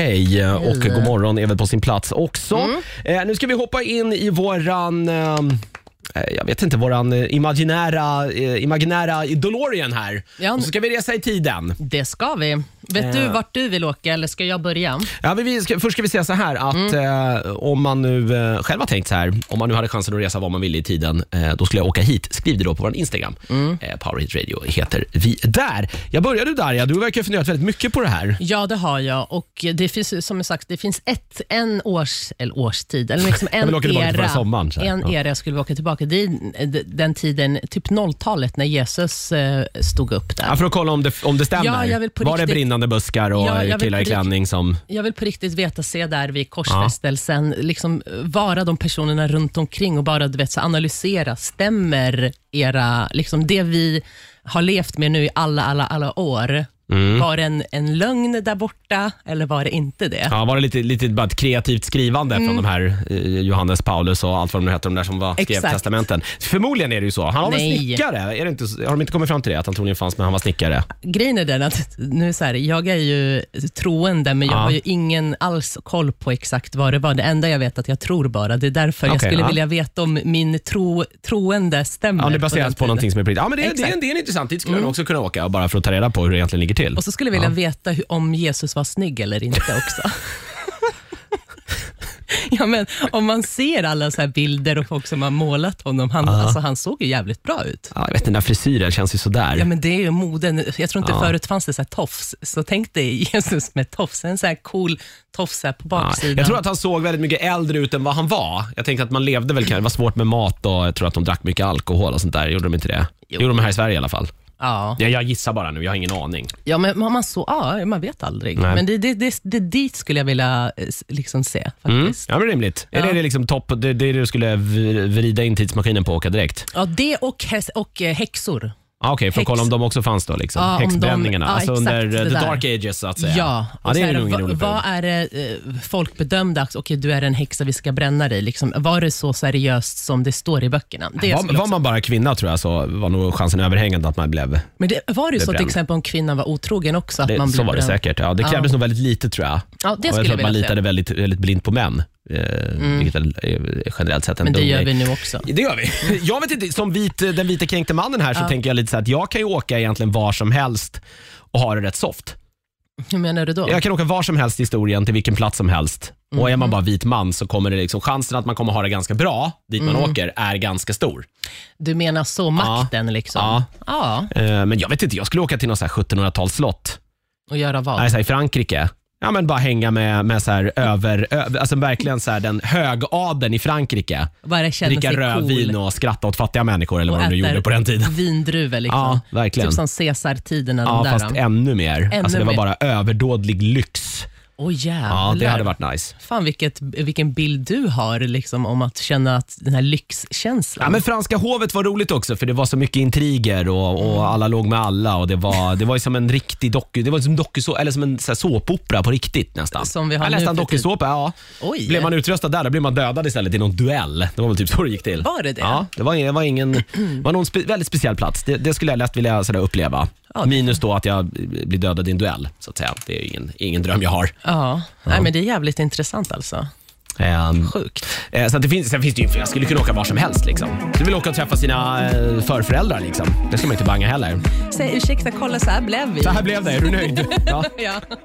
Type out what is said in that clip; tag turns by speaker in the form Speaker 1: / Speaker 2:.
Speaker 1: hej eh, och god morgon är väl på sin plats också.
Speaker 2: Mm.
Speaker 1: Eh, nu ska vi hoppa in i våran eh, eh, jag vet inte, våran eh, imaginära, eh, imaginära DeLorean här.
Speaker 2: Ja,
Speaker 1: och så ska vi resa i tiden.
Speaker 2: Det ska vi. Vet du vart du vill åka eller ska jag börja?
Speaker 1: Ja, men vi ska, först ska vi säga så här att
Speaker 2: Mm.
Speaker 1: eh, om man nu eh, själv har tänkt så här, om man nu hade chansen att resa var man ville i tiden, eh, då skulle jag åka hit. Skriv det då på vår Instagram.
Speaker 2: Mm.
Speaker 1: Eh, Powerhit Radio heter vi där. Jag börjar du Darja, du verkar ha funderat väldigt mycket på det här.
Speaker 2: Ja, det har jag. Och det finns ju, som jag sagt, det finns ett, en års, eller årstid, eller liksom en
Speaker 1: vill åka tillbaka till
Speaker 2: era,
Speaker 1: förra sommaren, så här.
Speaker 2: en
Speaker 1: Ja.
Speaker 2: era skulle vi åka tillbaka till. Den tiden, typ 0-talet, när Jesus eh, stod upp där.
Speaker 1: Ja, för att kolla om det, om det stämmer.
Speaker 2: Ja, jag vill på
Speaker 1: Var det
Speaker 2: riktigt-
Speaker 1: brinnande buskar och
Speaker 2: Ja, jag
Speaker 1: eh,
Speaker 2: vill
Speaker 1: killar
Speaker 2: på
Speaker 1: i
Speaker 2: riktigt-
Speaker 1: klänning som...
Speaker 2: Jag vill på riktigt veta, se där vid korsfästelsen, liksom eh, vara de personerna runt omkring och bara du vet, så analysera, stämmer era, liksom det vi har levt med nu i alla, alla, alla år,
Speaker 1: Mm.
Speaker 2: var det en, en lögn där borta eller var det inte det?
Speaker 1: Ja, var det lite, lite bara ett kreativt skrivande
Speaker 2: Mm.
Speaker 1: från de här eh, Johannes Paulus och allt vad de nu hette, de där som var, skrev
Speaker 2: Exakt.
Speaker 1: testamenten. Förmodligen är det ju så. Han var väl
Speaker 2: Nej.
Speaker 1: snickare? Är det inte, så- har de inte kommit fram till det? Att han troligen fanns, men han var snickare?
Speaker 2: Grejen är den att nu så här, jag är ju troende, men jag
Speaker 1: Ja.
Speaker 2: har ju ingen alls koll på exakt vad det var. Det enda jag vet är att jag tror bara. Det är därför jag
Speaker 1: Okej,
Speaker 2: skulle
Speaker 1: ja.
Speaker 2: vilja veta om min tro, troende stämmer.
Speaker 1: Ja, det
Speaker 2: den
Speaker 1: baseras på,
Speaker 2: tiden.
Speaker 1: någonting som är på riktigt. Ja, men det, det, är en,
Speaker 2: Exakt. Mm.
Speaker 1: det är en intressant dit skulle jag också kunna åka bara för att ta reda på hur det egentligen ligger till.
Speaker 2: Och så skulle jag vilja veta hur, om Jesus var snygg eller inte också. ja, men om man ser alla så här bilder och folk som har målat honom, han, alltså, han såg ju jävligt bra ut.
Speaker 1: Ja, jag vet, den där frisyren känns ju sådär.
Speaker 2: Ja, men det är ju moden. Jag tror inte förut fanns det så här tofs, så tänk dig Jesus med tofs. En så här cool tofs här på
Speaker 1: Ja.
Speaker 2: baksidan.
Speaker 1: Jag tror att han såg väldigt mycket äldre ut än vad han var. Jag tänkte att man levde väl kanske, det var svårt med mat och jag tror att de drack mycket alkohol och sånt där. Gjorde de inte det?
Speaker 2: Jo.
Speaker 1: Gjorde de här i Sverige i alla fall.
Speaker 2: ja.
Speaker 1: Ja, jag gissar bara nu, jag har ingen aning.
Speaker 2: ja, men man, man, så, ja, man vet aldrig.
Speaker 1: Nej.
Speaker 2: Men det, det, det, det dit skulle jag vilja eh, s- liksom se
Speaker 1: Mm.
Speaker 2: faktiskt.
Speaker 1: Ja, men rimligt. Är
Speaker 2: Ja.
Speaker 1: det det liksom topp, det, det du skulle v- vrida in tidsmaskinen på och åka direkt?
Speaker 2: Ja, det och, häs- och eh, häxor.
Speaker 1: Ah, Okej, för att
Speaker 2: Häx-
Speaker 1: kolla om de också fanns då. Liksom.
Speaker 2: Ja, Ah, om de-
Speaker 1: Häxbränningarna,
Speaker 2: ja,
Speaker 1: alltså
Speaker 2: exakt,
Speaker 1: under eh,
Speaker 2: det
Speaker 1: the
Speaker 2: där.
Speaker 1: dark ages så att säga.
Speaker 2: Ja,
Speaker 1: ja det
Speaker 2: så
Speaker 1: är
Speaker 2: här,
Speaker 1: nog ingen
Speaker 2: va-
Speaker 1: rolig period.
Speaker 2: Vad är det eh, folk bedömde, att okej du är en häxa, vi ska bränna dig. Liksom, var det så seriöst som det står i böckerna? Det
Speaker 1: Var,
Speaker 2: skulle
Speaker 1: var
Speaker 2: också-
Speaker 1: man bara kvinna tror jag så var nog chansen överhängande att man blev
Speaker 2: men det, var det ju
Speaker 1: blev
Speaker 2: så till
Speaker 1: bränd.
Speaker 2: exempel om kvinnan var otrogen också? Att
Speaker 1: det,
Speaker 2: man blev
Speaker 1: Så var det
Speaker 2: bränd?
Speaker 1: säkert. Ja, det
Speaker 2: Ja.
Speaker 1: krävdes nog väldigt lite tror jag.
Speaker 2: Ja, det
Speaker 1: Och jag
Speaker 2: skulle
Speaker 1: tror
Speaker 2: jag
Speaker 1: att man
Speaker 2: vilja
Speaker 1: litade
Speaker 2: se.
Speaker 1: väldigt, väldigt blint på män, eh, vilket är eh, generellt sett en
Speaker 2: Men det
Speaker 1: dum
Speaker 2: gör
Speaker 1: grej.
Speaker 2: vi nu också.
Speaker 1: Det gör vi. Jag vet inte, som vit, den vita kränkte mannen här så tänker jag lite så här att jag kan ju åka egentligen var som helst och ha det rätt soft.
Speaker 2: Hur menar du då?
Speaker 1: Jag kan åka var som helst i historien till vilken plats som helst. Och är man bara vit man så kommer det liksom, chansen att man kommer ha det ganska bra dit man åker är ganska stor.
Speaker 2: Du menar så, makten liksom?
Speaker 1: Ja.
Speaker 2: Ja,
Speaker 1: Eh, Men jag vet inte, jag skulle åka till något så här 1700-talsslott.
Speaker 2: och göra vad?
Speaker 1: Nej, så här, i Frankrike. Ja, men bara hänga med, med så här, över, över, alltså verkligen så här, den högaden i Frankrike.
Speaker 2: Bara känna
Speaker 1: Dricka
Speaker 2: sig
Speaker 1: rödvin
Speaker 2: cool
Speaker 1: och skratta åt fattiga människor eller
Speaker 2: och
Speaker 1: vad de nu
Speaker 2: äta
Speaker 1: gjorde på den tiden.
Speaker 2: vindruvor. Liksom.
Speaker 1: Ja, verkligen.
Speaker 2: Typ som Caesar-tiden.
Speaker 1: Ja,
Speaker 2: Ja,
Speaker 1: fast ännu mer. alltså, det var
Speaker 2: mer.
Speaker 1: bara överdådlig lyx.
Speaker 2: Åh jävlar.
Speaker 1: Ja, det hade varit nice.
Speaker 2: Fan vilket, vilken bild du har liksom, om att känna att den här lyxkänslan.
Speaker 1: Ja, men franska hovet var roligt också för det var så mycket intriger och,
Speaker 2: Mm.
Speaker 1: och alla låg med alla. Och det, var, det var ju som en riktig doku, det var som dokuså, eller som en så här såpopera på riktigt nästan.
Speaker 2: Som vi har
Speaker 1: ja,
Speaker 2: nu
Speaker 1: nästan
Speaker 2: för tiden.
Speaker 1: dokusåpa, ja.
Speaker 2: Oj.
Speaker 1: Blev man utröstad där, då blev man dödad istället i någon duell. Det var väl typ så det gick till.
Speaker 2: Var det det?
Speaker 1: Ja, det var, det var, ingen, det var någon spe, väldigt speciell plats. Det, det skulle jag lätt vilja sådär uppleva.
Speaker 2: Ja, det-
Speaker 1: Minus då att jag blir dödad i en duell, så att säga. Det är ju ingen, ingen dröm jag har.
Speaker 2: Ja, Nej, men det är jävligt intressant alltså.
Speaker 1: Ehm,
Speaker 2: Sjukt.
Speaker 1: Eh, Så att det finns, sen finns det ju, jag skulle kunna åka var som helst. Liksom. Du vill åka och träffa sina eh, förföräldrar. Liksom. Det ska man ju inte banga heller.
Speaker 2: Säg ursäkta, kolla så här blev vi.
Speaker 1: Så här blev det, är du nöjd? Ja.
Speaker 2: Ja.